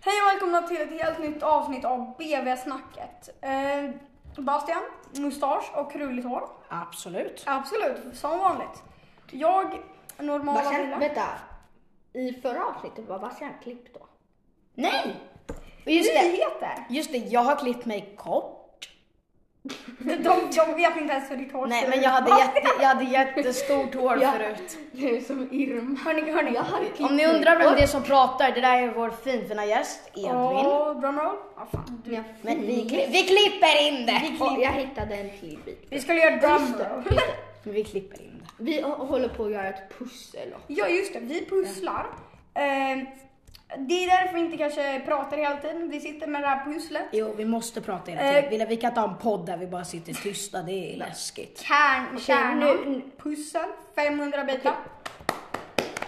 Hej och välkomna till ett helt nytt avsnitt av BV-snacket. Eh, Bastian, mustasch och krulligt hår. Absolut. Absolut, som vanligt. Jag, normala Bastian, Frida. vänta. I förra avsnittet var Bastian klippt då? Nej! Just det, Nyheter! just det, jag har klippt mig kort. De, de vet inte ens hur ditt hår Nej, ser men ut. jag hade, jätte, jag hade jättestort hår Ja. förut. Du är som Irma. Hörni, hörni. Jag hade klippt Om ni mig undrar vem kort. det är som pratar, det där är vår finfina gäst Edvin. Och drumroll. Ja, fan. Ja, Men vi, kli- vi klipper in det! Och jag hittade en till bit. Vi skulle göra Just det, drumroll. just det. Men vi klipper in det. Vi hå- håller på att göra ett pussel. också. Ja, just det. Vi pusslar. Eh, det är därför vi inte kanske pratar hela tiden. Vi sitter med det här pusslet. Jo, vi måste prata hela Eh. tiden. Vi, vi kan inte ha en podd där vi bara sitter tysta, det är läskigt. Kärn, nu- kärnan, nu- pussel, 500 bitar.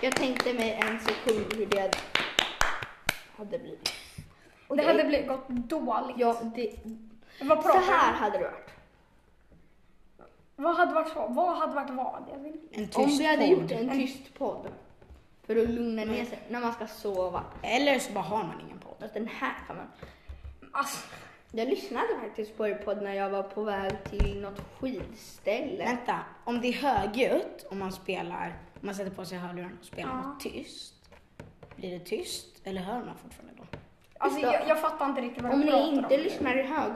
Jag tänkte mig en sekund hur det hade blivit. Och Det hade blivit gått dåligt. Ja, det, Vad så pratar du här om? hade det varit. Vad hade varit så? Vad hade varit vad? Jag vill- En tyst Om vi hade podd. gjort en tyst podd. För att lugna ner sig när man ska sova. Eller så bara har man ingen podd. Fast den här kan man. Alltså, Jag lyssnade faktiskt på er podd när jag var på väg till något skidställe. Vänta, om det är högljutt, om man spelar, om man sätter på sig hörlurarna och spelar Ja. något tyst, blir det tyst eller hör man fortfarande då? alltså Just det. jag, jag fattar inte riktigt vad Om du pratar ni inte om. lyssnar i, hög,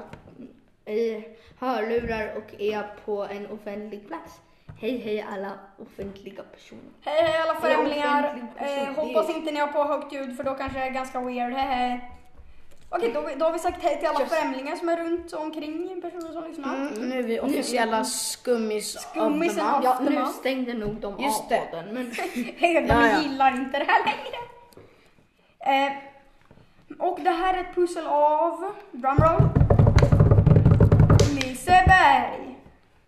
i hörlurar och är på en offentlig plats. Hej hej alla offentliga personer. Hej hej alla Det är främlingar! offentlig person, Eh, det är- hoppas inte ni har på högt ljud för då kanske det är ganska weird. Hej hej. Okej, då, har vi- då har vi sagt hej till alla Just- Mm. främlingar som är runt omkring personer som lyssnar. Mm, Nu är vi officiella skummis Skummis of the month. av- Ja, nu Aftonbladet. stängde nog de Just av det. podden. Men Hej, de Ja, ja. gillar inte det här längre. Eh, och det här är ett pussel av... Drumroll. Liseberg.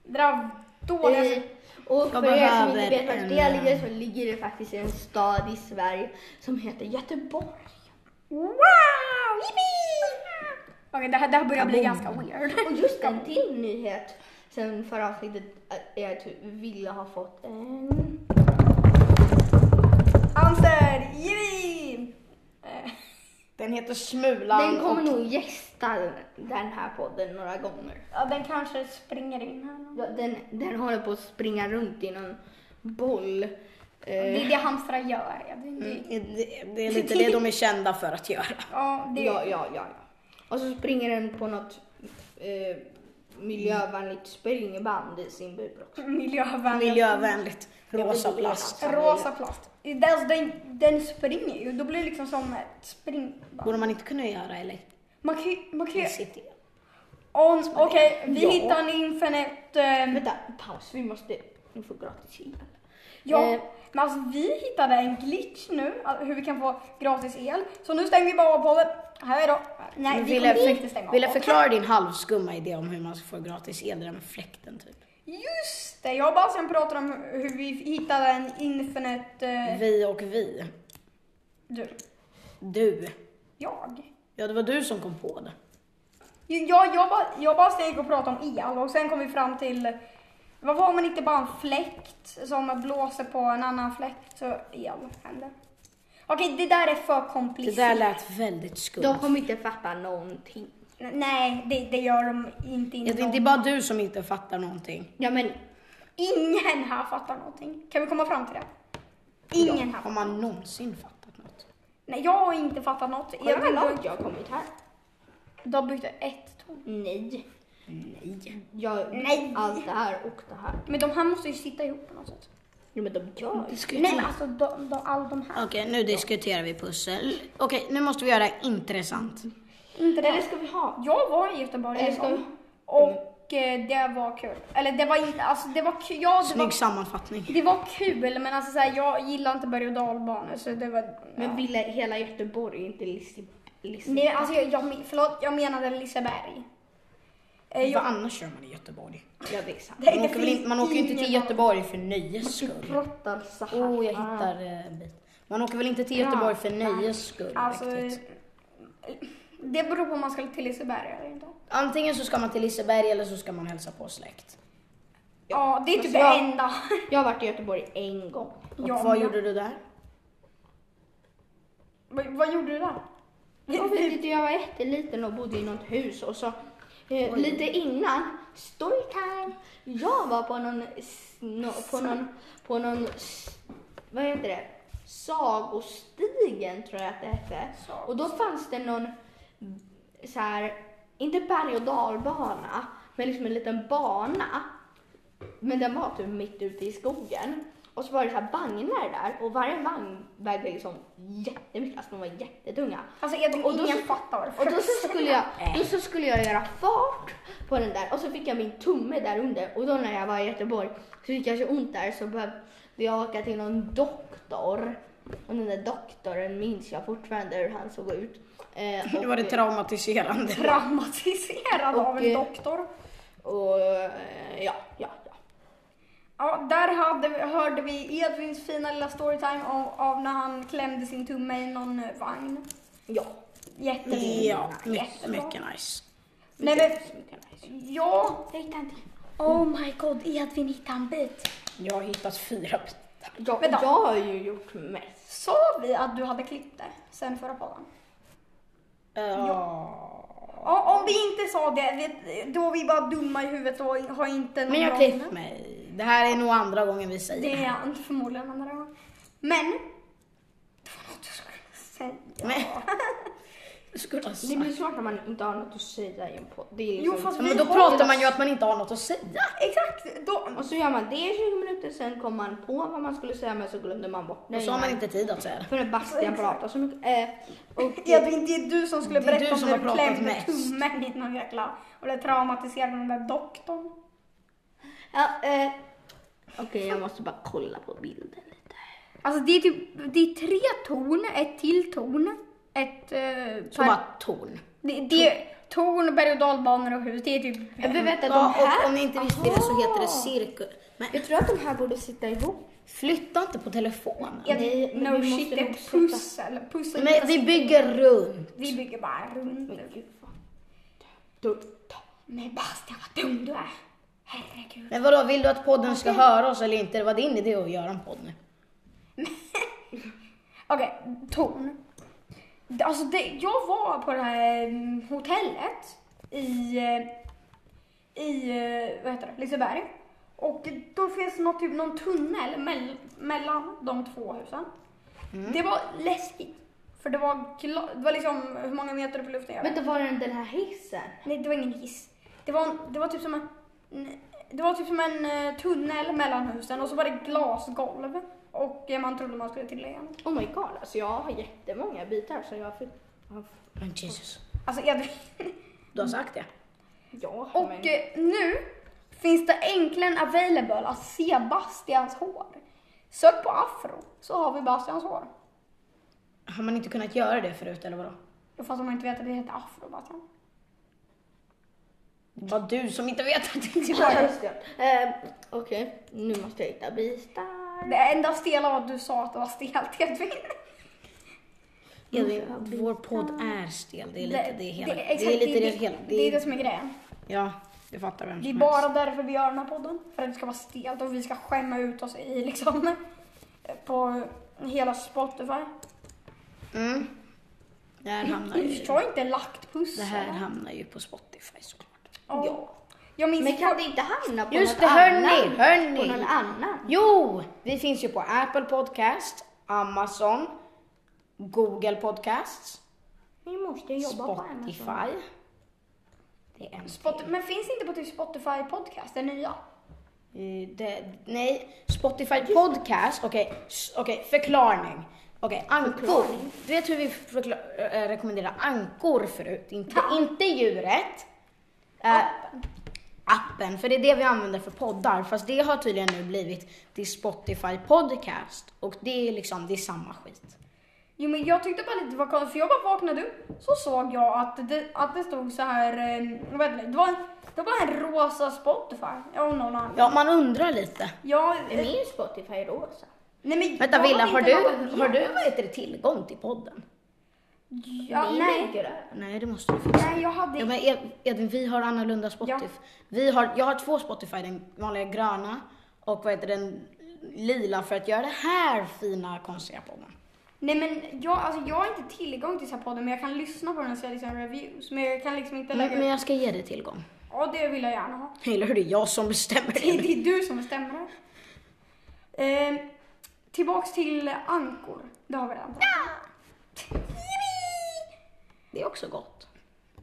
Det där dåliga... Eh, och för Jag er som inte behöver vet var en- det ligger så ligger det faktiskt i en stad i Sverige som heter Göteborg. Wow! Yippee! Okej, det här, det här börjar bli ganska weird. Och just Mm. en till nyhet sen förra avsnittet eh, är att Ville har fått en... Anser, yippee! Eh, Den heter Smulan Den kommer och nog gästa den här podden några gånger. ja, den kanske springer in här. nu. Ja, den, den håller på att springa runt i någon boll. Det Eh, är det hamstrar gör. Ja, det, det, Mm. det, det är lite det de är kända för att göra. ja, det, ja, ja, ja, ja. Och så springer den på något eh, miljövänligt springband i sin bur också. miljövänligt. Miljövänligt, rosa plast. Rosa plast. Det är Alltså, den, den springer ju. Då blir det liksom som ett spring... Borde man inte kunna göra elektricitet? Man kan ju... Man kan ju om, okej, vi Ja. hittar en infinite... Eh, Mm. Vänta, paus. Vi måste vi får gratis el. ja, Eh, men alltså vi hittade en glitch nu, alltså, hur vi kan få gratis el. Så nu stänger vi bara av podden. Hej då. Nej, vi vill kommer jag, inte stänga för, av vill jag podden. förklara din halvskumma idé om hur man ska få gratis el, det där med fläkten typ? Just det, jag och Bastian pratade om hur vi hittade en infinite... Eh, Vi och vi. du. Du. Jag. Ja, det var du som kom på det. Jag, jag, bara, jag bara steg och pratade om el och sen kom vi fram till vad var man inte bara en fläkt som blåser på en annan fläkt så el händer. Okej, det där är för Det komplicerat. där lät väldigt skumt. De kommer inte fatta någonting. Nej, det, det gör de inte. Ja, det, inte det är bara du som inte fattar någonting. Ja, men Ingen här fattar någonting. Kan vi komma fram till det? Ingen här. Har man någonsin fattat något? Nej, jag har inte fattat något. kolla hur Edvin, långt jag har kommit här. du, du har byggt ett torn. Nej. Nej. Jag, Nej. Allt det här och det här. Men de här måste ju sitta ihop på något sätt. Ja, men de gör ju. Nej, men alltså de, de, all de här. typ- Okej, nu diskuterar vi pussel. Okej, nu måste vi göra intressant. Inte det. Eller ska vi ha? Jag var i Göteborg Eller en ska Mm. gång. vi- Och eh, det var kul. Eller det var inte, alltså det var kul. Ja, det var, Snygg sammanfattning. det var kul men alltså så här, jag gillar inte berg och dalbanor så det var... Men ja. vill hela Göteborg, inte Lissabon. Lissabon. Nej, alltså jag, jag, men- förlåt, jag menade Liseberg. Eh, Vad jag, annars gör man i Göteborg? Ja, det är sant. det, Man det åker, väl finns inte, man åker ju inte till ingen Göteborg för nöjes Du skull. pratar så här. Åh, oh, jag hittar eh, en bit. Man åker väl inte till Göteborg för nöjes skull annan- Alltså, riktigt. eh, det beror på om man ska till Liseberg eller inte. Antingen så ska man till Liseberg eller så ska man hälsa på släkt. Ja, det är typ Men det jag- enda. Jag har varit i Göteborg en gång. Och Ja, vad men- gjorde du där? Vad, vad gjorde du där? Jag vet inte, jag var jätteliten och bodde i något hus och så eh, lite innan, storytime, jag var på någon, s- nå- på någon, på någon, s- vad heter det, sagostigen tror jag att det hette. Och då fanns det någon så här, inte berg och dalbana, men liksom en liten bana. Men den var typ mitt ute i skogen. Och så var det så här vagnar där och varje vagn vägde liksom jättemycket, alltså de var jättetunga. Alltså Edvin, Och då ingen så- fattar vad Och det då så skulle jag, då så skulle jag göra fart på den där och så fick jag min tumme där under och då när jag var i Göteborg så fick jag så ont där så behövde jag åka till någon doktor. Och den där doktorn minns jag fortfarande hur han såg ut. Eh, Det var det traumatiserande. Traumatiserad av Och, en eh, doktor. och eh, ja, ja, ja. Ja, där hade, vi- hörde vi Edvins fina lilla storytime av, av när han klämde sin tumme i någon eh, vagn. ja. Jättefin. Ja, mycket, Jättebra. mycket nice. Nej men, men... ja. Jag hittade inte. Oh my god, Edvin hittade en bit. Jag har hittat fyra bitar. Jag, Vänta. jag har ju gjort mest. Sa vi att du hade klippt det sen förra podden? Ja. Ja, om vi inte sa det, vet- då är vi bara dumma i huvudet och har inte någon Men jag bra klippte minne. mig. Det här är nog andra gången vi säger det. Det här. är inte förmodligen andra gången. Men, det var något du skulle säga. Men, jag skulle ha Det sagt. blir svårt när man inte har något att säga i en podd. Det är Jo, liksom- fast Ja, vi men då har pratar man ju att man inte har något att säga. Exakt! Då, Och så gör man det i 20 minuter, sen kommer man på vad man skulle säga men så glömde man bort Och så har man inte tid att säga det. För att Bastian pratar så mycket. Eh, och Edvin, det är du som skulle Det är berätta du om som när har du pratat klämde mest. tummen i någon jäkla... Och blev traumatiserad av den där doktorn. ja, eh, Okej, jag måste bara kolla på bilden lite. Alltså det är typ det är tre torn, ett till torn, ett... Eh, Så bara torn. det, det är torn, berg och dalbanor och hus. Det är typ... Jag behöver veta, Ja, de och om här... ni inte visste det så heter det cirkus. Men Jag tror att de här borde sitta ihop. flytta inte på telefonen. Ja, Nej, men no vi måste shit, nog ett sätta- pussel. Pussel. Men vi bygger runt. vi bygger bara runt. Men gud vad dumt. Men Bastian, vad dum du är. Herregud. Men vadå, vill du att podden ska höra oss eller inte? Det var din idé att göra en podd nu. Okej, torn. Alltså det, jag var på det här mm, hotellet i, eh, i eh, vad heter det, Liseberg. Och då finns något, typ, någon tunnel mell, mellan de två husen. Det var läskigt. För det var, gla- det var liksom hur många meter upp i luften jag Vänta, var det den här hissen? Nej, det var ingen hiss. Det var, det var typ som en... Det var typ som en eh, tunnel mellan husen och så var det glasgolv. Och eh, man trodde man skulle trilla igen. Oh my god, alltså jag har jättemånga bitar som jag fick. Men Jesus. Alltså Edvin. Du har sagt det. Ja, Och men... eh, nu finns det äntligen available att se Bastians hår. Sök på afro så har vi Bastians hår. Har man inte kunnat göra det förut eller vadå? Fast om man inte vet att det heter afro Bastian. Det var du som inte vet att det inte Ja, var just det. Eh, Okej, nu måste jag hitta bitar. Det enda stela var att du sa att det var stelt Edvin. Edvin, Vår podd är stel. Det är lite det hela. Det exakt, är lite det det, hela. det är det som är grejen. Ja, det fattar vem Det är som bara därför vi gör den här podden. För att det ska vara stelt och vi ska skämma ut oss i liksom på hela Spotify. helst. Mm. Det här hamnar Jag ju, förstår inte lagt pussel. det här hamnar ju på Spotify såklart. Ja. Jag minns Men kan det inte hamna på Just något det, hörni, annat? På någon hörni. annan? Jo, vi finns ju på Apple Podcast, Amazon, Google Podcasts, Vi måste jobba på Amazon. Spotify. Det är en Spot- Men finns inte på typ Spotify podcast, den nya? Eh, Det, nej, Spotify podcast. Okej, s- okej, förklaring. Okej, ankor. Förklaring. Du vet hur vi förkla- eh, rekommenderar ankor förut? Inte, inte djuret. Eh, appen, för det är det vi använder för poddar. Fast det har tydligen nu blivit till Spotify podcast. Och det är liksom, det är samma skit. Jo men jag tyckte bara lite det var konstigt för jag bara vaknade upp så såg jag att det, att det stod så här, eh, vad heter det, det var, en, det var en rosa Spotify av någon anledning. Ja, man undrar lite. Jag, eh, Är min Spotify rosa? nej men Vänta jag Villa, vet har inte du, vad- har du vad heter det, tillgång till podden? Ja, min nej, är grön. Nej, det måste du nej, jag hade Ja, men Ed- Edvin, vi har annorlunda Spotify. Vi har, jag har två Spotify, den vanliga gröna och vad heter den lila för att göra det här fina konstiga podden. Nej men jag, alltså, jag har inte tillgång till så här podden men jag kan lyssna på den och se liksom reviews. Men jag kan liksom inte Men, lägga men ut. jag ska ge dig tillgång. Ja det vill jag gärna ha. Eller hur, det är jag som bestämmer Det är, det. det är du som bestämmer det. här. Eh, tillbaks till ankor. Det har vi redan pratat om. Det är också gott.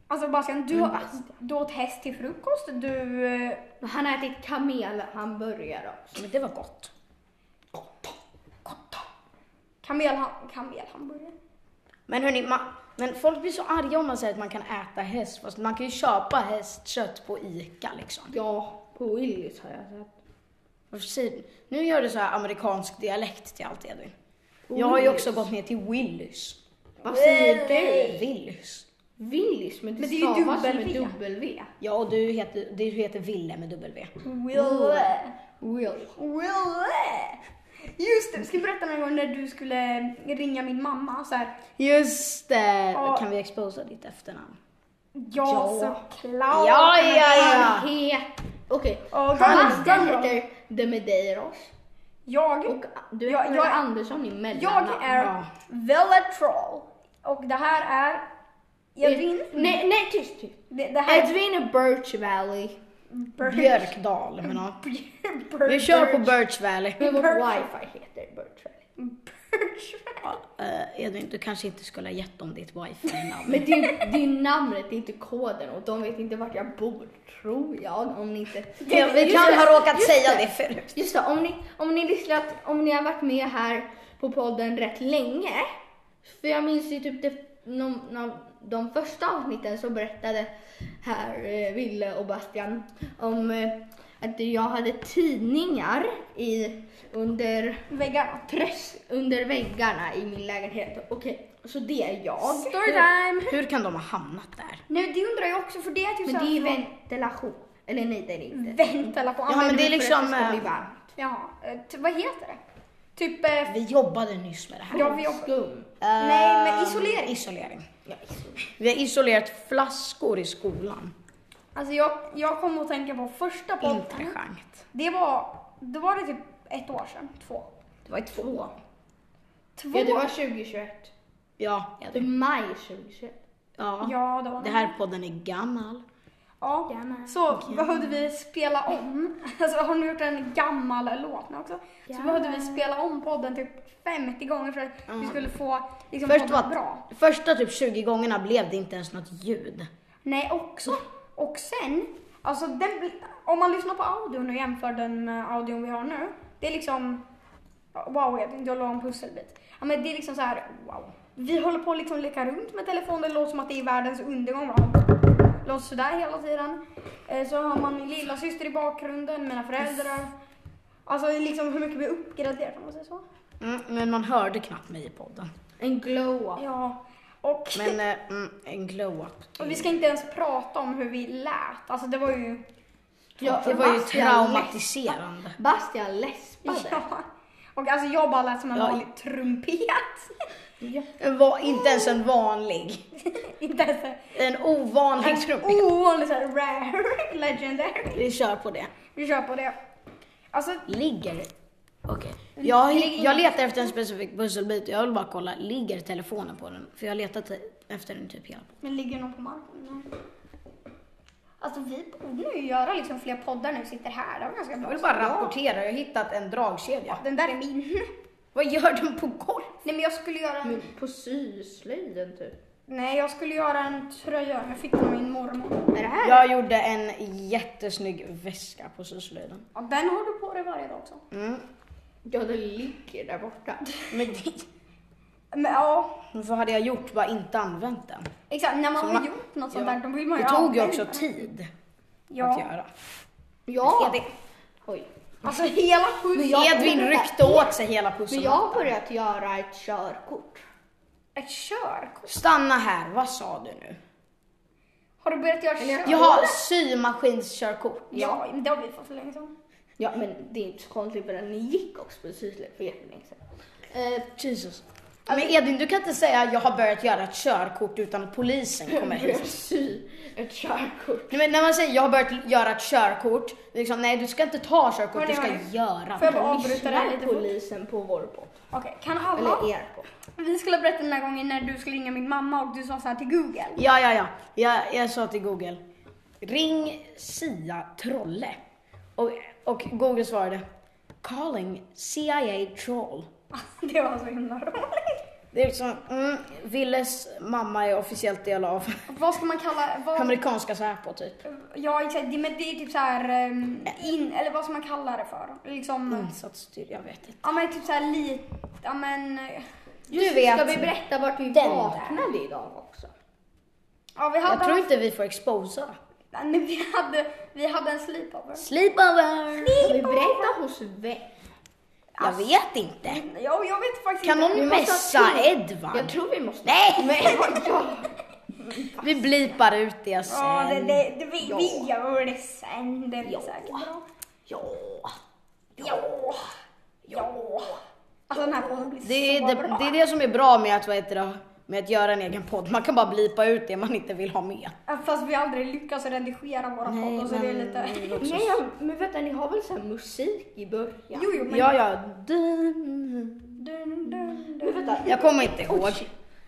Alltså Bastian, du, Men har- du åt häst till frukost. Du... eh, Men Han har ätit kamelhamburgare också. Men det var gott. Kamelha- Kamelhamburgare. Men hörni, ma- men folk blir så arga om man säger att man kan äta häst. Fast man kan ju köpa hästkött på Ica liksom. Ja, på Willys har jag sett. Varför säger Nu gör du så här amerikansk dialekt till allt Edvin. Jag har ju också gått ner till Willys. Vad säger Willys. du? Willys. Willys, men det, Men det är ju stavas som dubbel ett V. W. Ja, och du heter, du heter Ville med dubbel V. Will. Will. Will. Just det, ska jag berätta någon gång när du skulle ringa min mamma så här. Just det! Ja. Kan vi exposa ditt efternamn? Ja, Ja. såklart. Ja, ja, ja. Han heter... Okej. Och Bastian Bastian heter Demedeiros. Jag, Och du Ja, heter jag- Andersson i mellannamn. jag är Ja. Velatrol. Och det här är Edvin. Nej, nej tyst, tyst. Det, det här Edvin är Birch Valley. Bird- Björkdal, men ja. Bird- Vi kör på Bird- Birch Valley. Men vårt Birch- wifi heter Birch Valley. Bird- Eh, Edvin, du kanske inte skulle ha gett dem ditt wifi-namn. Men det är, det är namnet, det är inte koden och de vet inte vart jag bor, tror jag. Om ni inte... Ja, vi kan det, ha råkat just säga det förut. Just det, om ni, om ni lyssnat, om ni har varit med här på podden rätt länge. För jag minns ju typ det, någon av de första avsnitten så berättade här eh, Ville och Bastian om eh, att jag hade tidningar i, under, Väggarna. trös, under väggarna i min lägenhet. Okej, så det är jag. Storytime! Hur kan de ha hamnat där? Nu, det undrar jag också för det är typ Men så det här- är ju ventilation. Eller nej, det är det inte. Ventilation. Ja, men det är För att liksom... det ska bli eh, varmt. Jaha, eh, t- vad heter det? Typ... Eh, Vi jobbade nyss med det här. ja, vi jobbar... Skum. Nej, men Eh, isolering. Isolering. Ja, Vi har isolerat flaskor i skolan. Alltså jag, jag kom att tänka på första podden. Intressant. Det var... Då var det typ ett år sedan. Två. Det var två. Två? ja, det var 2021. Ja, Det är Edvin. maj 2021. Ja. Ja, det var Det här podden är gammal. Ja. Gammal. Så behövde vi spela om. Alltså har ni gjort en gammal låt nu också? Så Gammal. behövde vi spela om podden typ 50 gånger för att vi Mm. skulle få liksom, Först podden var- bra. Första typ 20 gångerna blev det inte ens något ljud. Nej, också. Och sen, alltså den, bli- om man lyssnar på audion och jämför den med audion vi har nu. Det är liksom, wow Edvin, du la en pusselbit. Ja, men det är liksom så här, wow. Vi håller på att liksom leka runt med telefonen, det låter som att det är världens undergång. va? Låter sådär hela tiden. Eh, Så har man min lilla syster i bakgrunden, mina föräldrar. Alltså liksom hur mycket vi uppgraderar om man säger så. Mm, men man hörde knappt mig i podden. En glow-up. Ja, och, Men eh, mm, en glow-up. och vi ska inte ens prata om hur vi lät. Alltså det var ju... Ja, Det var ju Bastian läs- traumatiserande. Bastian läspade. Ja. Och alltså jag bara lät som en Ja. vanlig trumpet. Det var inte ens en vanlig. Inte ens en- En ovanlig en trumpet. ovanlig såhär rare, legendary. Vi kör på det. Vi kör på det. Alltså, Ligger... Okej. Jag, jag letar efter en specifik pusselbit. Jag vill bara kolla, ligger telefonen på den? För jag har letat efter den typ hela men ligger någon på marken? Nej. Alltså vi borde ju göra liksom fler poddar när vi sitter här. Det var ganska bra. Jag vill bara rapportera, jag har hittat en dragkedja. Den där är min. Vad gör den på golvet? Nej men jag skulle göra en... Men På syslöjden typ. Nej jag skulle göra en tröja. Jag fick den av min mormor. Är det här? Jag gjorde en jättesnygg väska på syslöjden. Ja, den har du på dig varje dag också. Mm. Ja, den ligger där borta. Men det- Men ja, vad hade jag gjort? Bara inte använt den. exakt. När man Så har man- gjort något sånt Ja. där då vill man ju Det tog ju använda också det. tid att Ja. göra. Ja. Edvin- Oj. Alltså hela skjutningen. jag- Edvin ryckte åt sig hela Men jag har pusselmattan. börjat göra ett körkort. Ett körkort? Stanna här, vad sa du nu? Har du börjat göra körkort? Jag har symaskinskörkort. Ja, men det har vi fått för länge sedan. Ja, men det är inte så konstigt för den gick också på syslöjd för jättelänge sedan. Eh, Jesus. Men Edvin, du kan inte säga jag har börjat göra ett körkort utan att polisen kommer hit. sy ett körkort. Nej, men när man säger jag har börjat göra ett körkort, liksom, nej du ska inte ta körkort, Hörni, du ska hörni. göra Får jag det. bara avbryta det här lite Lyssnar fort? polisen på vår podd? Okej, kan alla... e- Eller er podd? Vi skulle berätta den här gången när du skulle ringa min mamma och du sa så här till Google. Ja, ja, ja. Jag, jag sa till Google, ring Sia Trolle. Och, och Google svarade, calling CIA Troll. Det var så himla roligt. Det är liksom, mm, Willes mamma är officiellt del av Vad ska man kalla... Vad, amerikanska Säpo typ. ja, exakt. Det, men det är typ så här... ehm, In, eller vad ska man kalla det för? Liksom... Mm. Insatsstyr, jag vet inte. Ja, men typ så här lite... Ja, men... eh, Du Ska vi vet, berätta vart vi Den vaknade idag också? Ja, vi hade... jag tror inte vi får exposa. Nej, vi hade, vi hade en sleepover. Sleepover! Ska vi berätta hos vem? Jag vet inte. Ja, jag vet faktiskt Kan inte. någon måste ha messa Edvard? Jag tror vi måste... Nej! Men vadå? Vi blipar ut det alltså. sen. Ja, det, det, det, vi, Ja. vi gör det sen. Det blir Ja. säkert bra. Ja. Ja. Ja. Alltså den här podden blir Det är så det, bra. det är det som är bra med att, vad heter det, med att göra en egen podd. Man kan bara blipa ut det man inte vill ha med. Ja, Fast vi aldrig lyckas redigera våra Nej, poddar så det är men- lite... Alltså, Nej, jag- men vänta, ni har väl så här musik i början? Jo, jo, men... Ja, ja. Dun. Dun, dun, Men dun. vänta. Jag kommer inte ihåg.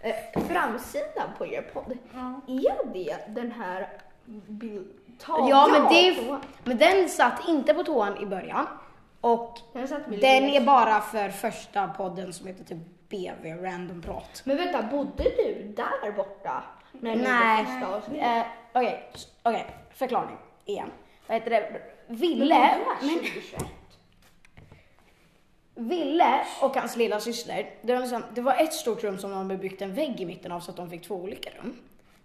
Eh, framsidan på er podd, Ja. är det den här bild... tavlan? Ja, men, det, är- men den satt inte på toan i början. Och Den satt med den lite- är bara för första podden som heter typ BV Random Prat. Men vänta, bodde du där borta? När ni Nej. gjorde första avsnittet? Eh, Okej, s- okej. Förklaring igen. Vad heter det? Men Ville... det var 2021. Ville och hans lilla syster, det var, liksom, det var ett stort rum som de hade byggt en vägg i mitten av så att de fick två olika rum.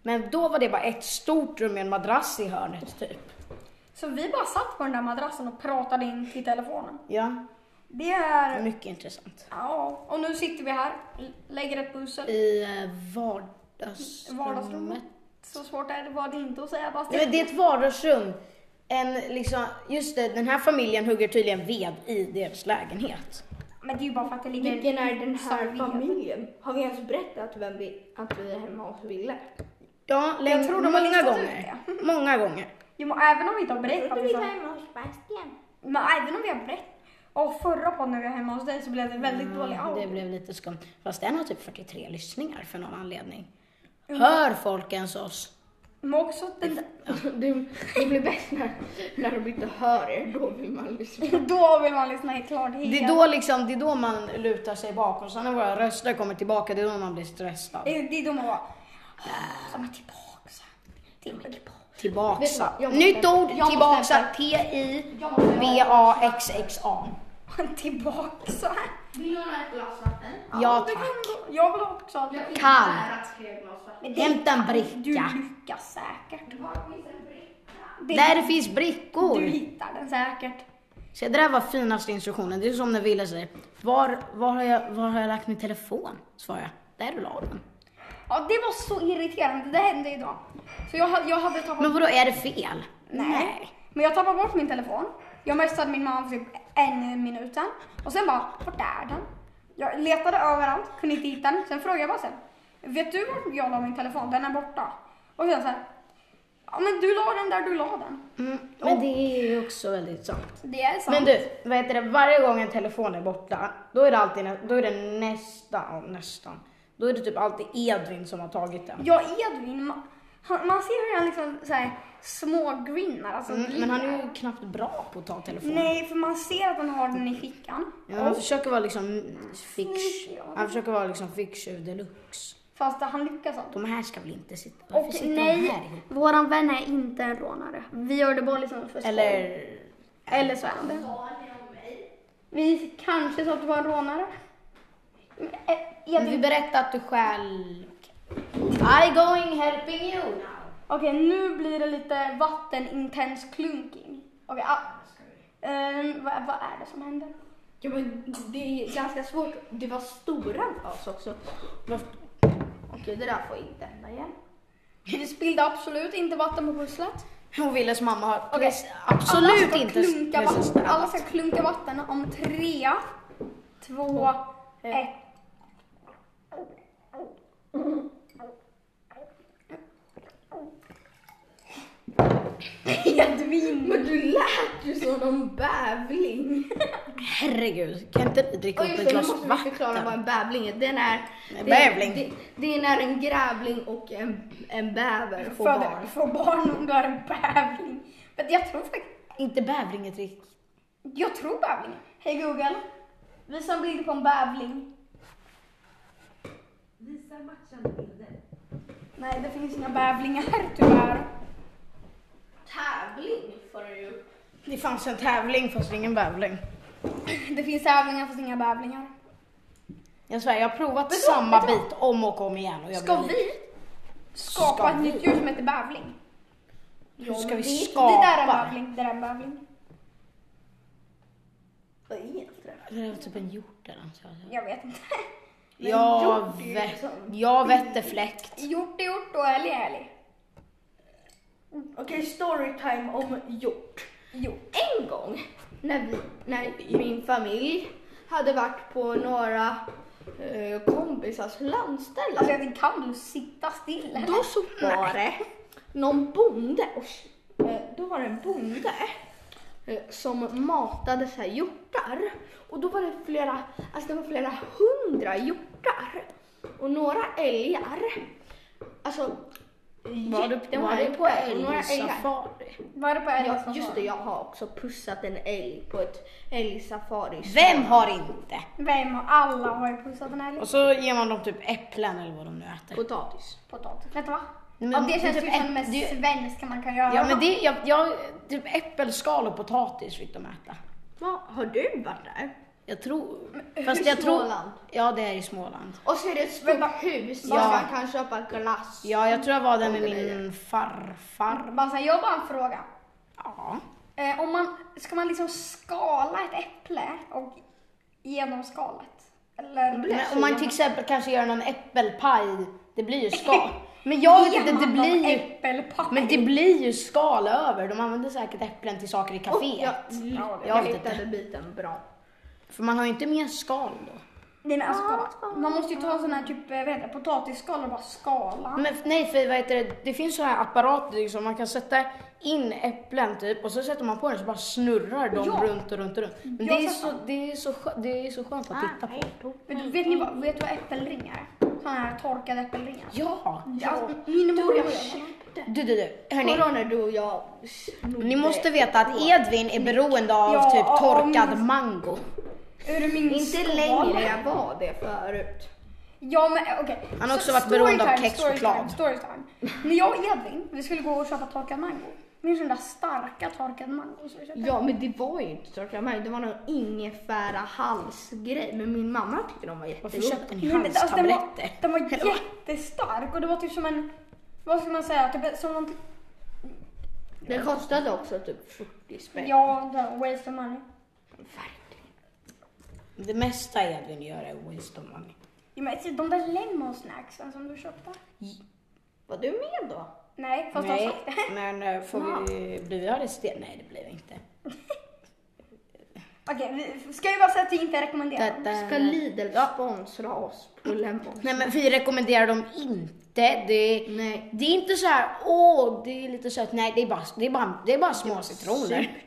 Men då var det bara ett stort rum med en madrass i hörnet typ. Så vi bara satt på den där madrassen och pratade in till telefonen. Ja, Det är... mycket intressant. Ja, och nu sitter vi här, l- lägger ett pussel. I eh, vardagsrummet. Vardagsrummet. Så svårt är det, var det inte att säga Nej, Bastian. men det är ett vardagsrum. En, liksom, just det, den här familjen hugger tydligen ved i deras lägenhet. Men det är ju bara för att det ligger... Vilken är den här servering. familjen? Har vi ens berättat vem vi, att vi är hemma hos Ville? Ja, länge, tror de har många listat ut gånger. Många gånger. Jo, men även om vi inte har berättat det så... hemma hos Bastian. Men även om vi har berättat... Och förra podden när vi var hemma hos dig så blev det väldigt dålig Ja, Mm, det audio. blev lite skumt. Fast den har typ 43 lyssningar för någon anledning. Mm. Hör folk ens oss? Men också att den... Det, det blir bäst när, när de inte hör er, då vill man lyssna. Då vill man lyssna helt klart. helt. Det är, då liksom, det är då man lutar sig bak och sen när våra röster kommer tillbaka, det är då man blir stressad. Eh, Det är det är då man bara... "Åh, De är tillbaks. De är tillbaks. Vet du vad, Tillbaksa. jag måste- Nytt ord, jag måste tillbaksa. hämta- T-I-B-A-X-X-A. tillbaks. Vill du ha ett glas vatten? Ja Det kan tack. gå- Jag vill också ha det. Kan. tre glas vatten. Hämta en Du bricka. lyckas säkert. Var finns en bricka? Det- Där det finns Du brickor. hittar den säkert. Så det där var finaste instruktionen. Det är som när Wille säger, var, var, har jag, var har jag lagt min telefon? Svarar jag, där du la den. Ja, det var så irriterande. Det hände idag. Så jag, hade- jag hade tappat... Men vadå, är det fel? Men jag tappade bort min telefon. Jag messade min mamma för typ en minut sen. Och sen bara, vart är den? Jag letade överallt, kunde inte hitta den. Sen frågade jag bara sen, vet du vart jag la min telefon? Den är borta. Och sen så här, ja men du la den där du la den. Mm, men det är ju också väldigt sant. Det är sant. Men du, vad heter det, varje gång en telefon är borta, då är det alltid, nä- då är det nästan, nästan, då är det typ alltid Edvin som har tagit den. Ja, Edvin, man, han, man ser hur han liksom så här, smågrinnar. Alltså, Mm, men han är ju knappt bra på att ta telefonen. Nej, för man ser att han har den i fickan. Ja, han försöker vara liksom fix, Snygg, ja. han försöker vara liksom fix deluxe. Fast han lyckas aldrig. De här ska väl inte sitta, varför Och sitter de här nej, ihop? våran vän är inte en rånare. Vi gör det bara liksom för skoj. Eller, Eller så är han det. Sa ni om mig? Vi kanske sa att du var en rånare. Men, eh, men vi Edvin- berättar att du själv... I going helping you now. Okej, nu blir det lite vattenintens klunking. Okej, ah. Ehm, vad, vad är det som händer? Ja, men det är ganska svårt. Det var stora glas också. Okej, det där får inte hända igen. Vi spillde absolut inte vatten på pusslet. Och Willes mamma har Okej. pres- absolut ska inte klunka precis vatten. Alla städat. ska klunka vatten om tre, två, ett. min. Men du lät ju som någon bävling. Herregud, kan inte ni dricka Och upp just ett det, nu glas måste vi förklara vad vatten? en bävling är. Den är, En det- bävling. Det, det är när en grävling och en, en bäver får barn. Föder, får barn om du är en bävling. Men jag tror faktiskt, Inte bävling är ett riktigt... jag tror bävling. Hej Google, visa en bild på en bävling. Visa matchande bilder. Nej, det finns inga bävlingar tyvärr. Tävling får du ju. Det fanns en tävling fast ingen bävling. Det finns tävlingar fast inga bävlingar. Jag svär, jag har provat samma bit om och om igen och jag Ska blir lik. vi skapa Ska ett vi? nytt djur som heter bävling? Hur ska vi Det skapa? där är en bävling, det där är en bävling. Vad är det? Det är typ en hjort eller något. sånt. Jag vet inte. Jag hjort är ju vet, sån. jag vet det fläkt. Hjort är hjort och älg är älg. Okej, storytime om hjort. Hjort. En gång när, vi, när min familj hade varit på några eh, kompisars landställe. Alltså jag kan du sitta still? Då så var det någon bonde, och, eh, då var det en bonde eh, som matade så här hjortar. Och då var det flera, alltså det var flera hundra hjortar. Och några älgar. Alltså, Var du- jättemånga var du på hjortar och några älgar. älgsafari? Vad är det på älg? Ja, som just var? det, jag har också pussat en älg på ett älgsafari. Vem har inte? Vem har alla har ju pussat en älg? Och så ger man dem typ äpplen eller vad de nu äter. Potatis. Potatis. Vet du vad? Men- ja, det men känns typ ju som det äpp- mest det- svenska man kan göra. Ja men det, jag, jag, typ äppelskal och potatis fick de äta. Va, har du varit där? Jag tror, hur fast i jag tror, Småland? ja det är i Småland. Och så är det ett Men stort va- hus Ja. där man kan köpa glass. Ja jag tror jag var där med Åh, det är min farfar. Bara så här, jag har bara en fråga. Ja. Eh, om man, ska man liksom skala ett äpple och genom skalet? Eller? Men om man till exempel kanske gör någon äppelpaj, det blir ju skal. Men jag vet inte, det Genom blir ju, Äppelpaj. men det blir ju skal över. De använder säkert äpplen till saker i Och kaféet. jag, Ja, det jag vet hittade biten bra. För man har ju inte mer skal då. Nej men alltså kolla. Man måste ju ta en sån här typ, eh, vad heter det, potatisskal och bara skala. Men, nej, för vad heter det? Det finns så här apparater liksom, man kan sätta in äpplen typ och så sätter man på den så bara snurrar de Ja. runt och runt och runt. Men Jag det är, har sett Ah, så, det, är så skö- det är så skönt att titta på. Vet du, vet ni vad, vet du vad äppelringar är? Såna här torkade äppelringar. Ja! Alltså, min mor gör såna. Du, du, du. Hörni, Kolla när du och jag snodde. ni måste veta att Edvin är beroende av Ja, typ om- torkad mango. Ur min Inte skal. längre jag var det förut. Ja men eh, okej. Han har också Så- varit beroende av storytime, Storytime, kexchoklad. storytime. När jag och Edvin, vi skulle gå och köpa torkad mango. Minns du den där starka torkade mango som vi köpte? Ja men det var ju inte torkad mango, det var någon ingefära halsgrej. Men min mamma tyckte de var Varför jättegoda. köpte ni Nej, men alltså, den, var, halstabletter? den var jättestark och det var typ som en, vad ska man säga, typ som någon, Det kostade också typ 40 spänn. ja, det var waste of money. Verkligen. Det mesta Edvin gör är waste of money. Ja, men typ, de där lemon snacksen som du köpte. Var du med då? Nej, fast de Nej, sagt det. men eh, får vi, blir vi arresterade? Nej, det blir vi inte. Okej, vi ska ju bara säga att vi inte rekommenderar dem. Detta- Ska Lidl sponsra oss på Lemon? Nej men vi rekommenderar dem inte. Det, Nej. det är inte så här, åh det är lite sött. Nej det är bara, det är bara, det är bara små citroner.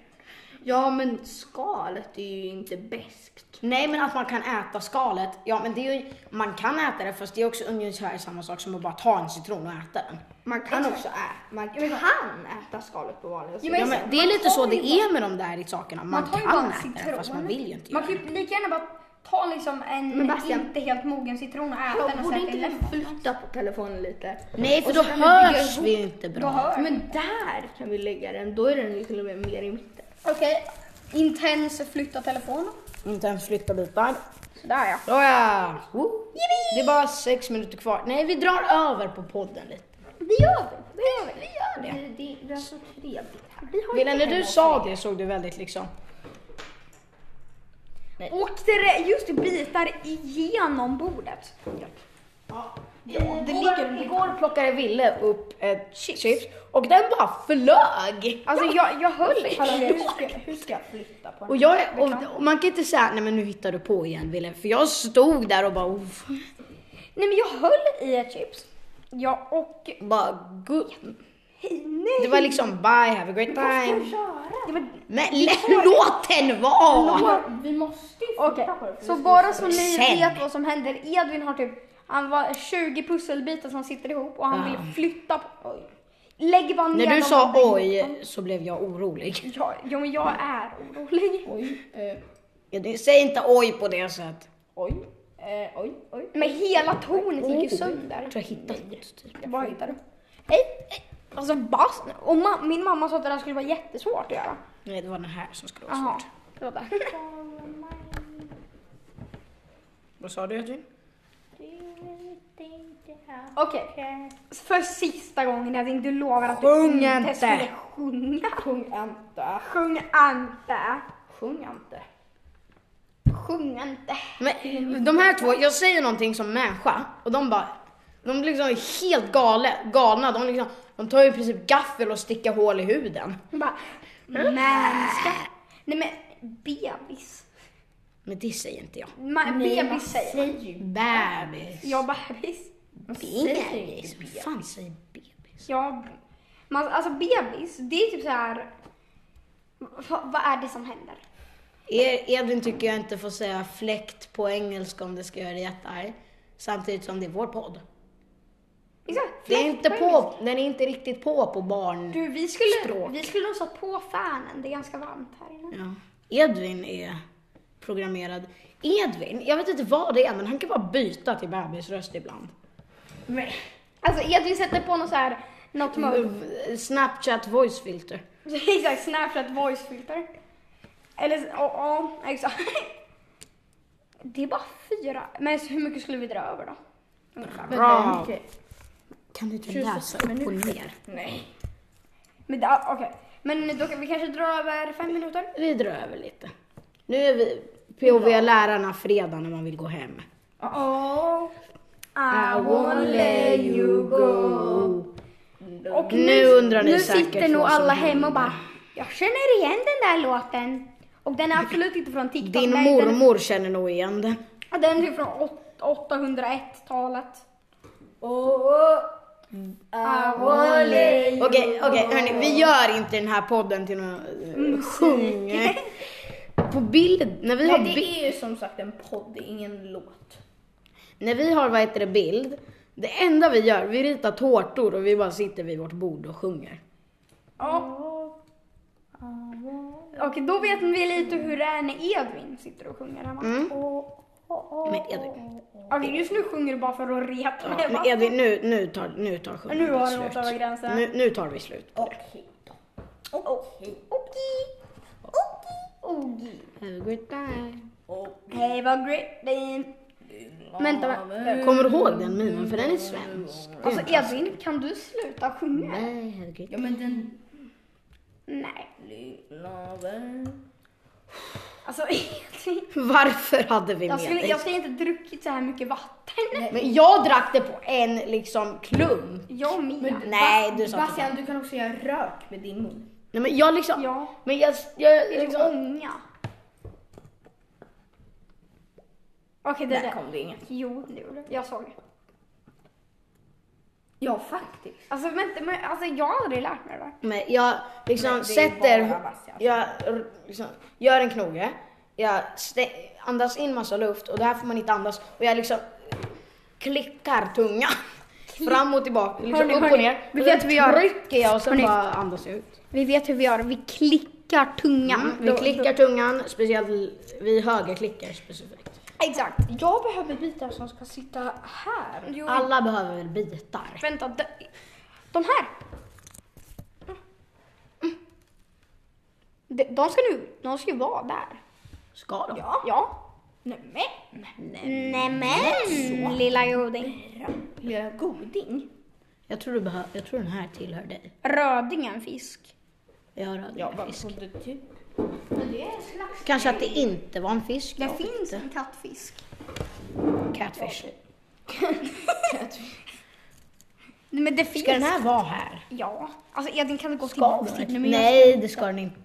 Ja men skalet är ju inte beskt. Nej men att man kan äta skalet, ja men det är ju, man kan äta det fast det är också ungefär samma sak som att bara ta en citron och äta den. Man kan också äta, man kan äta skalet på vanliga Ja, sätt. men- Ja, men det är lite Man så tar ju det är med de där sakerna, man, tar ju bara kan en äta det fast man vill ju inte Man göra kan det. ju lika gärna bara ta liksom en Men Bastian- inte helt mogen citron och äta Ja, den och borde sätta i inte lemon. vi flytta på telefonen lite? Nej för Och då så kan vi bygga hörs ihop- vi ju inte bra. Då hör Men där kan vi lägga den, då är den ju till och med mer i mitten. Okej, intens flytta telefon. Inte ens flytta bitar. Sådär ja. Nåja, Woo. det är bara sex minuter kvar. Nej vi drar över på podden lite. Det gör vi, det gör vi. det. Det, det är så trevligt här. Vi har Wille, inte när du hemma sa oss. det såg du väldigt liksom... Och det just det, bitar igenom bordet. Det ligger, igår plockade Ville upp ett chips, och den bara flög! Alltså jag, jag höll i. Hur ska jag flytta på den? Och, jag, och, och man kan inte säga nej men nu hittar du på igen Ville, för jag stod där och bara... Uff, Nej men jag höll i ett chips. Ja och bara gud. Nej! Det var liksom bye, have a great time. Ja, men- Men lä- låt den vara! Vi måste ju Okej, flytta på det, för så vi- bara så ni Sen. vet vad som händer. Edvin har typ, han var 20 pusselbitar som sitter ihop och han Ja. vill flytta på, oj. Lägg bara ner När du dem sa på bänken. oj så blev jag orolig. Ja, jo men jag är orolig. Oj, eh, Ja, det- Säg inte oj på det sättet. oj, eh, oj, oj. Men hela tornet gick ju Oj. sönder. Jag tror jag hittade något. Typ. Vad hittar du? Hej! hej. Alltså bass. Och ma- min mamma sa att det där skulle vara jättesvårt att göra. Nej, det var den här som skulle vara Jaha, svårt. det var där. Vad sa du Edvin? Okej, för sista gången Edvin, du lovar att Sjung du inte. inte skulle sjunga. Sjung inte. Sjung inte. Sjung inte. Sjung inte. Men de här två, jag säger någonting som människa och de bara, de blir liksom helt gale, galna. De, liksom, de tar ju i princip gaffel och sticker hål i huden. Hon bara, Mm. mänska. Nej men bebis. Men det säger inte jag. Ma- bebis säger man. ju Bebis. Ja, bebis. bebis. Vad fan säger bebis? Ja, man, alltså bebis, det är typ så här. Va, vad är det som händer? Er- Edvin tycker jag inte får säga fläkt på engelska om det ska göra dig jättearg. Samtidigt som det är vår podd. Exakt, Det är fläkt inte engelska. på, den är inte riktigt på på barn. Du, vi skulle, Språk. vi skulle nog satt på fanen. Det är ganska varmt här inne. Ja. Edvin är programmerad. Edvin, jag vet inte vad det är men han kan bara byta till bebisröst ibland. Alltså Edvin sätter på något så här, något mode. Snapchat voice filter. Exakt, Snapchat voice filter. Eller, s- ja, ja, exakt. Det är bara fyra. Men så hur mycket skulle vi dra över då? Ungefär. Bra. Okej. Kan du inte Tjugo läsa upp och ner? Nej. Men det- okej. Men då kan vi kanske dra över fem minuter? Vi drar över lite. Nu är vi POV lärarna fredag när man vill gå hem. Oh. I I won't won't let you go. Och Nu undrar ni nu säkert sitter nog vad som alla hemma och händer. bara, jag känner igen den där låten. Och den är absolut inte från TikTok. Din Nej, mormor känner nog igen den. Den, den är typ från åt- 801-talet. Okej, okej hörni, vi gör inte den här podden till någon uh, sjung. På bild, när vi har Nej, det bild, är ju som sagt en podd, det är ingen låt. när vi har vad heter det, bild, det enda vi gör, vi ritar tårtor och vi bara sitter vid vårt bord och sjunger. Ja. Okej, då vet vi lite hur det är när Edvin sitter och sjunger hemma. Mm. Men Edvin, Okej, just nu sjunger du bara för att reta mig. ja, men va? Edvin nu, nu tar, nu tar Nu har sjungandet det gått över slut. gränsen. Nu, nu tar vi slut på det. Okej. Okej. Okej. Have a great time. Oh, Hey, vad great day. Vänta, vänta. Kommer du ihåg den minen? För den är svensk. Alltså Edvin, kan du sluta sjunga? Nej, have a great Ja men den Nej. lilla vän. Alltså Edvin. Varför hade vi med Jag skulle, dig? jag skulle inte druckit så här mycket vatten. Men jag drack det på en liksom klump. Jag med. Nej, du sa inte det. Bastian, du kan också göra rök med din mun. Nej men jag liksom... Ja. Men jag... jag Det är typ liksom ånga. Okej, det Där där. kom det inget. Jo, det gjorde det. Jag såg det. Ja faktiskt. Alltså vänta, men alltså jag har aldrig lärt mig det där. men jag liksom Nej, det är bara sätter... Bastian. Alltså. Jag r- liksom, gör en knoge. Jag stä- andas in massa luft och det här får man inte andas. Och jag liksom klickar tunga. Fram och tillbaka, liksom Hörni, upp och hörni, ner. vi Och vet sen hur vi gör. trycker jag och sen Hörni. bara andas jag ut. Vi vet hur vi gör. Vi klickar tungan. Mm, vi klickar tungan, speciellt vi högerklickar specifikt. Exakt. Jag behöver bitar som ska sitta här. Jo, Alla behöver väl bitar? vänta. De, de här. Mm. De, de ska nu, de ska ju vara där. Ska de? Ja. Ja. Nämen. Nämen, lilla goding. Lilla goding. Jag tror, du behö- jag tror den här tillhör dig. Rödingen fisk. Jag har aldrig Ja, en vad fisk. trodde du? Kanske att det inte var en fisk. Det jag vet finns inte. en kattfisk. Catfish. Nej, men det finns. Ska den här vara här? Ja. Alltså Edvin kan du gå Ska tillbaka till den? Nej, det ska den inte.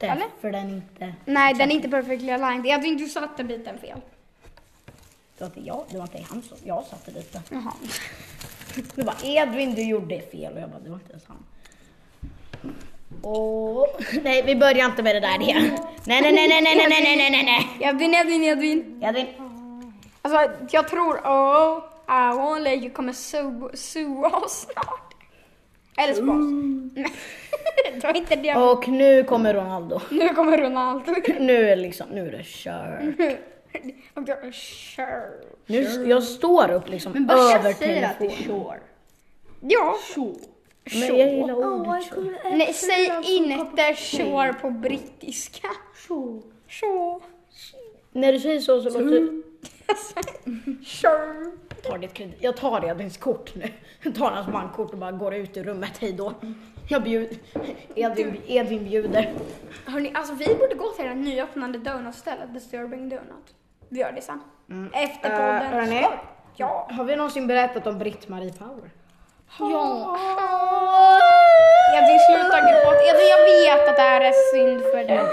Eller? För den är inte... Nej, den är inte perfectly aligned. Edvin, du satte biten fel. Det var inte jag, det var inte han som... Jag satte dit den. Jaha. Du bara Edvin du gjorde fel och jag bara det var inte ens han. Och, nej vi börjar inte med det där igen. Nej nej nej nej nej nej nej nej nej nej. Edvin, Edvin, Edvin. Edvin. Alltså jag tror oh, I won't let you kommer sue sue oss snart. Eller spons. Nej, det var inte det. Och nu kommer Ronaldo. Nu kommer Ronaldo. Nu är det liksom, nu är det kört. Och jag, sure. Nu, jag står upp liksom Men över Basha säger att det är sure. Ja. Men jag gillar ordet jag så. kommer äta Nej, säg den som kommer på inte mig. shore på brittiska. Sure. Shore. När du säger så så låter det... Sure. Tar ditt kredit. Jag tar Edvins kort nu. Jag tar hans bankkort och bara går ut ur rummet, hej då. Jag bjud... Edvin, Edvin bjuder. Hörrni, alltså vi borde gå till den nyöppnade donutstället, Disturbing Donut. Vi gör det sen. Efter Eh, podden. hörni. Ja. Har vi någonsin berättat om Britt-Marie Power? Ja. Edvin, sluta gråta. Edvin, jag vet att det här är synd för dig.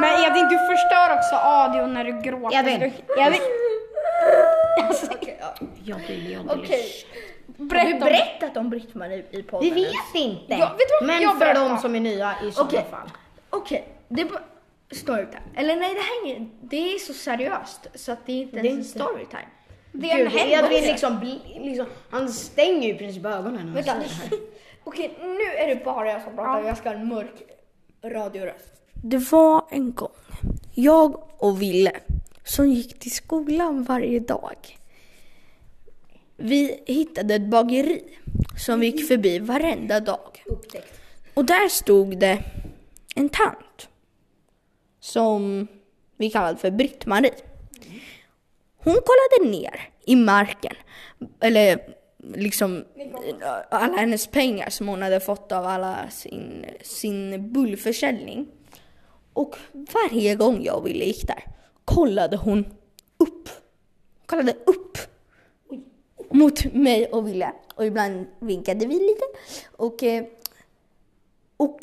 Men Edvin, du förstör också audion när du gråter. Edvin. Du- Edvin. Alltså, Jag vill, jag vill. Okej. berätta om det. Berättat om Britt-Marie i podden. Vi vet inte. Ja, vet du vad? Men Jag för berättar. de som är nya i sådana Okej. fall. Okej, det är bara storytime. Eller nej, det här är inget- Det är så seriöst så att det är inte Det är ens en inte- storytime. Det är en Gud, Edvin händelse. liksom, bli- liksom, han stänger ju i princip ögonen. när han Vänta. säger det här. Okej, nu är det bara jag som pratar. Jag ska ha en mörk radioröst. Det var en gång jag och Ville som gick till skolan varje dag. Vi hittade ett bageri som vi gick förbi varenda dag. Mm. Upptäckt. Och där stod det en tant som vi kallade för Britt-Marie. Hon kollade ner i marken, eller liksom alla hennes pengar som hon hade fått av alla sin, sin bullförsäljning. Och varje gång jag ville gick där kollade hon upp. Kollade upp mot mig och Ville. Och ibland vinkade vi lite. Och eh, och,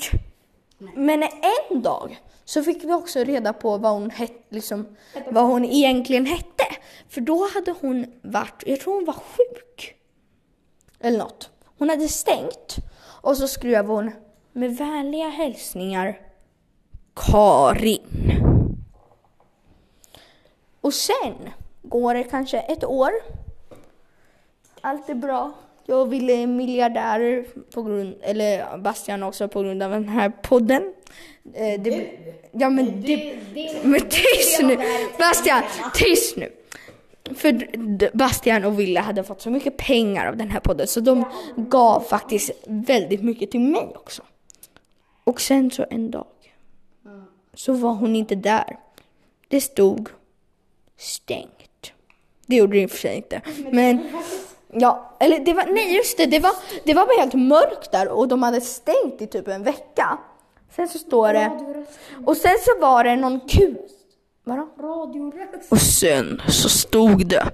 men en dag så fick vi också reda på vad hon, het, liksom, vad hon egentligen hette. För då hade hon varit, jag tror hon var sjuk. Eller något. Hon hade stängt. Och så skrev hon med vänliga hälsningar Karin. Och sen går det kanske ett år. Allt är bra. Jag ville miljardärer på grund, eller Bastian också på grund av den här podden. Eh, det, ja men det, men tyst nu! Bastian, tyst nu! För d- Bastian och Wille hade fått så mycket pengar av den här podden så de gav faktiskt väldigt mycket till mig också. Och sen så en dag så var hon inte där. Det stod stängt. Det gjorde det i och för sig inte. Men ja, eller det var, nej just det, det var, det var bara helt mörkt där och de hade stängt i typ en vecka. Sen så står det, och sen så var det någon kul, vadå? Och sen så stod det,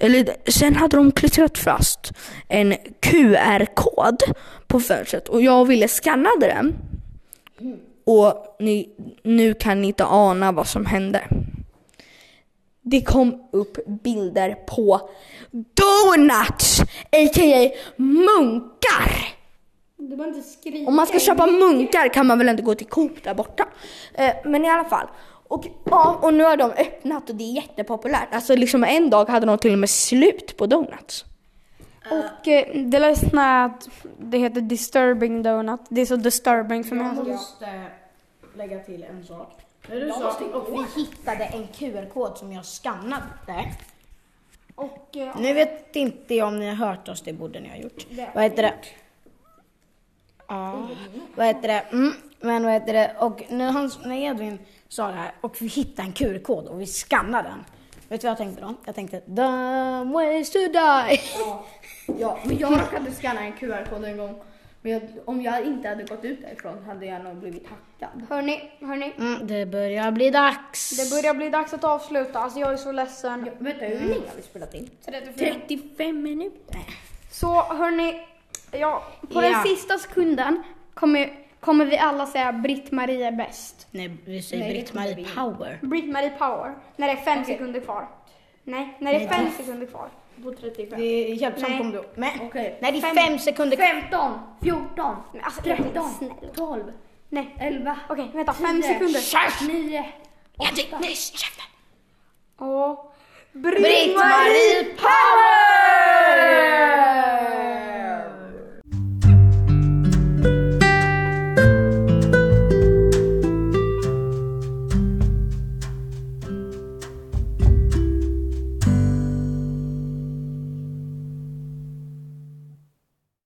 eller sen hade de klistrat fast en QR-kod på fönstret och jag ville skanna den. Och ni, nu kan ni inte ana vad som hände. Det kom upp bilder på donuts, a.k.a. munkar. Du behöver inte skrika. Om man ska köpa munkar kan man väl inte gå till Coop där borta. Eh, men i alla fall. Och, ja, och nu har de öppnat och det är jättepopulärt. Alltså liksom en dag hade de till och med slut på donuts. Och eh, det ledsna är att det heter disturbing donut. Det är så disturbing för mig. Jag måste lägga till en sak. När du sa och vi hittade en QR-kod som jag skannade. Och eh, Nu vet inte jag om ni har hört oss, det borde ni ha gjort. Vad heter det? Ja, vad heter det? Mm, men vad heter det? Och när, han, när Edvin sa det här och vi hittade en QR-kod och vi skannade den. Vet du vad jag tänkte då? Jag tänkte dumb ways to die. Ja, men jag råkade scanna en QR-kod en gång. Men jag, om jag inte hade gått ut därifrån hade jag nog blivit hackad. hörni, hörni. Mm, det börjar bli dags. Det börjar bli dags att avsluta. Alltså jag är så ledsen. Vänta, hur länge har vi spelat in? 35 minuter. Så hörni, ja, på Ja. den sista sekunden kommer, kommer vi alla säga Britt-Marie är bäst. Nej, vi säger Britt-Marie Power. Britt-Marie Power. När det är fem sekunder kvar. Nej, när det är fem sekunder kvar. På 35. Det är hjälpsamt om du... Nej. Okej. Nej, det är Fem- fem, sekunder 15, 14, Men alltså, 13, snäll. 12, Nej. 11. Okej, vänta. Fem Tio. sekunder. Käft! 9. Ja, det- nej, käften! Ja. Britt-Marie Power!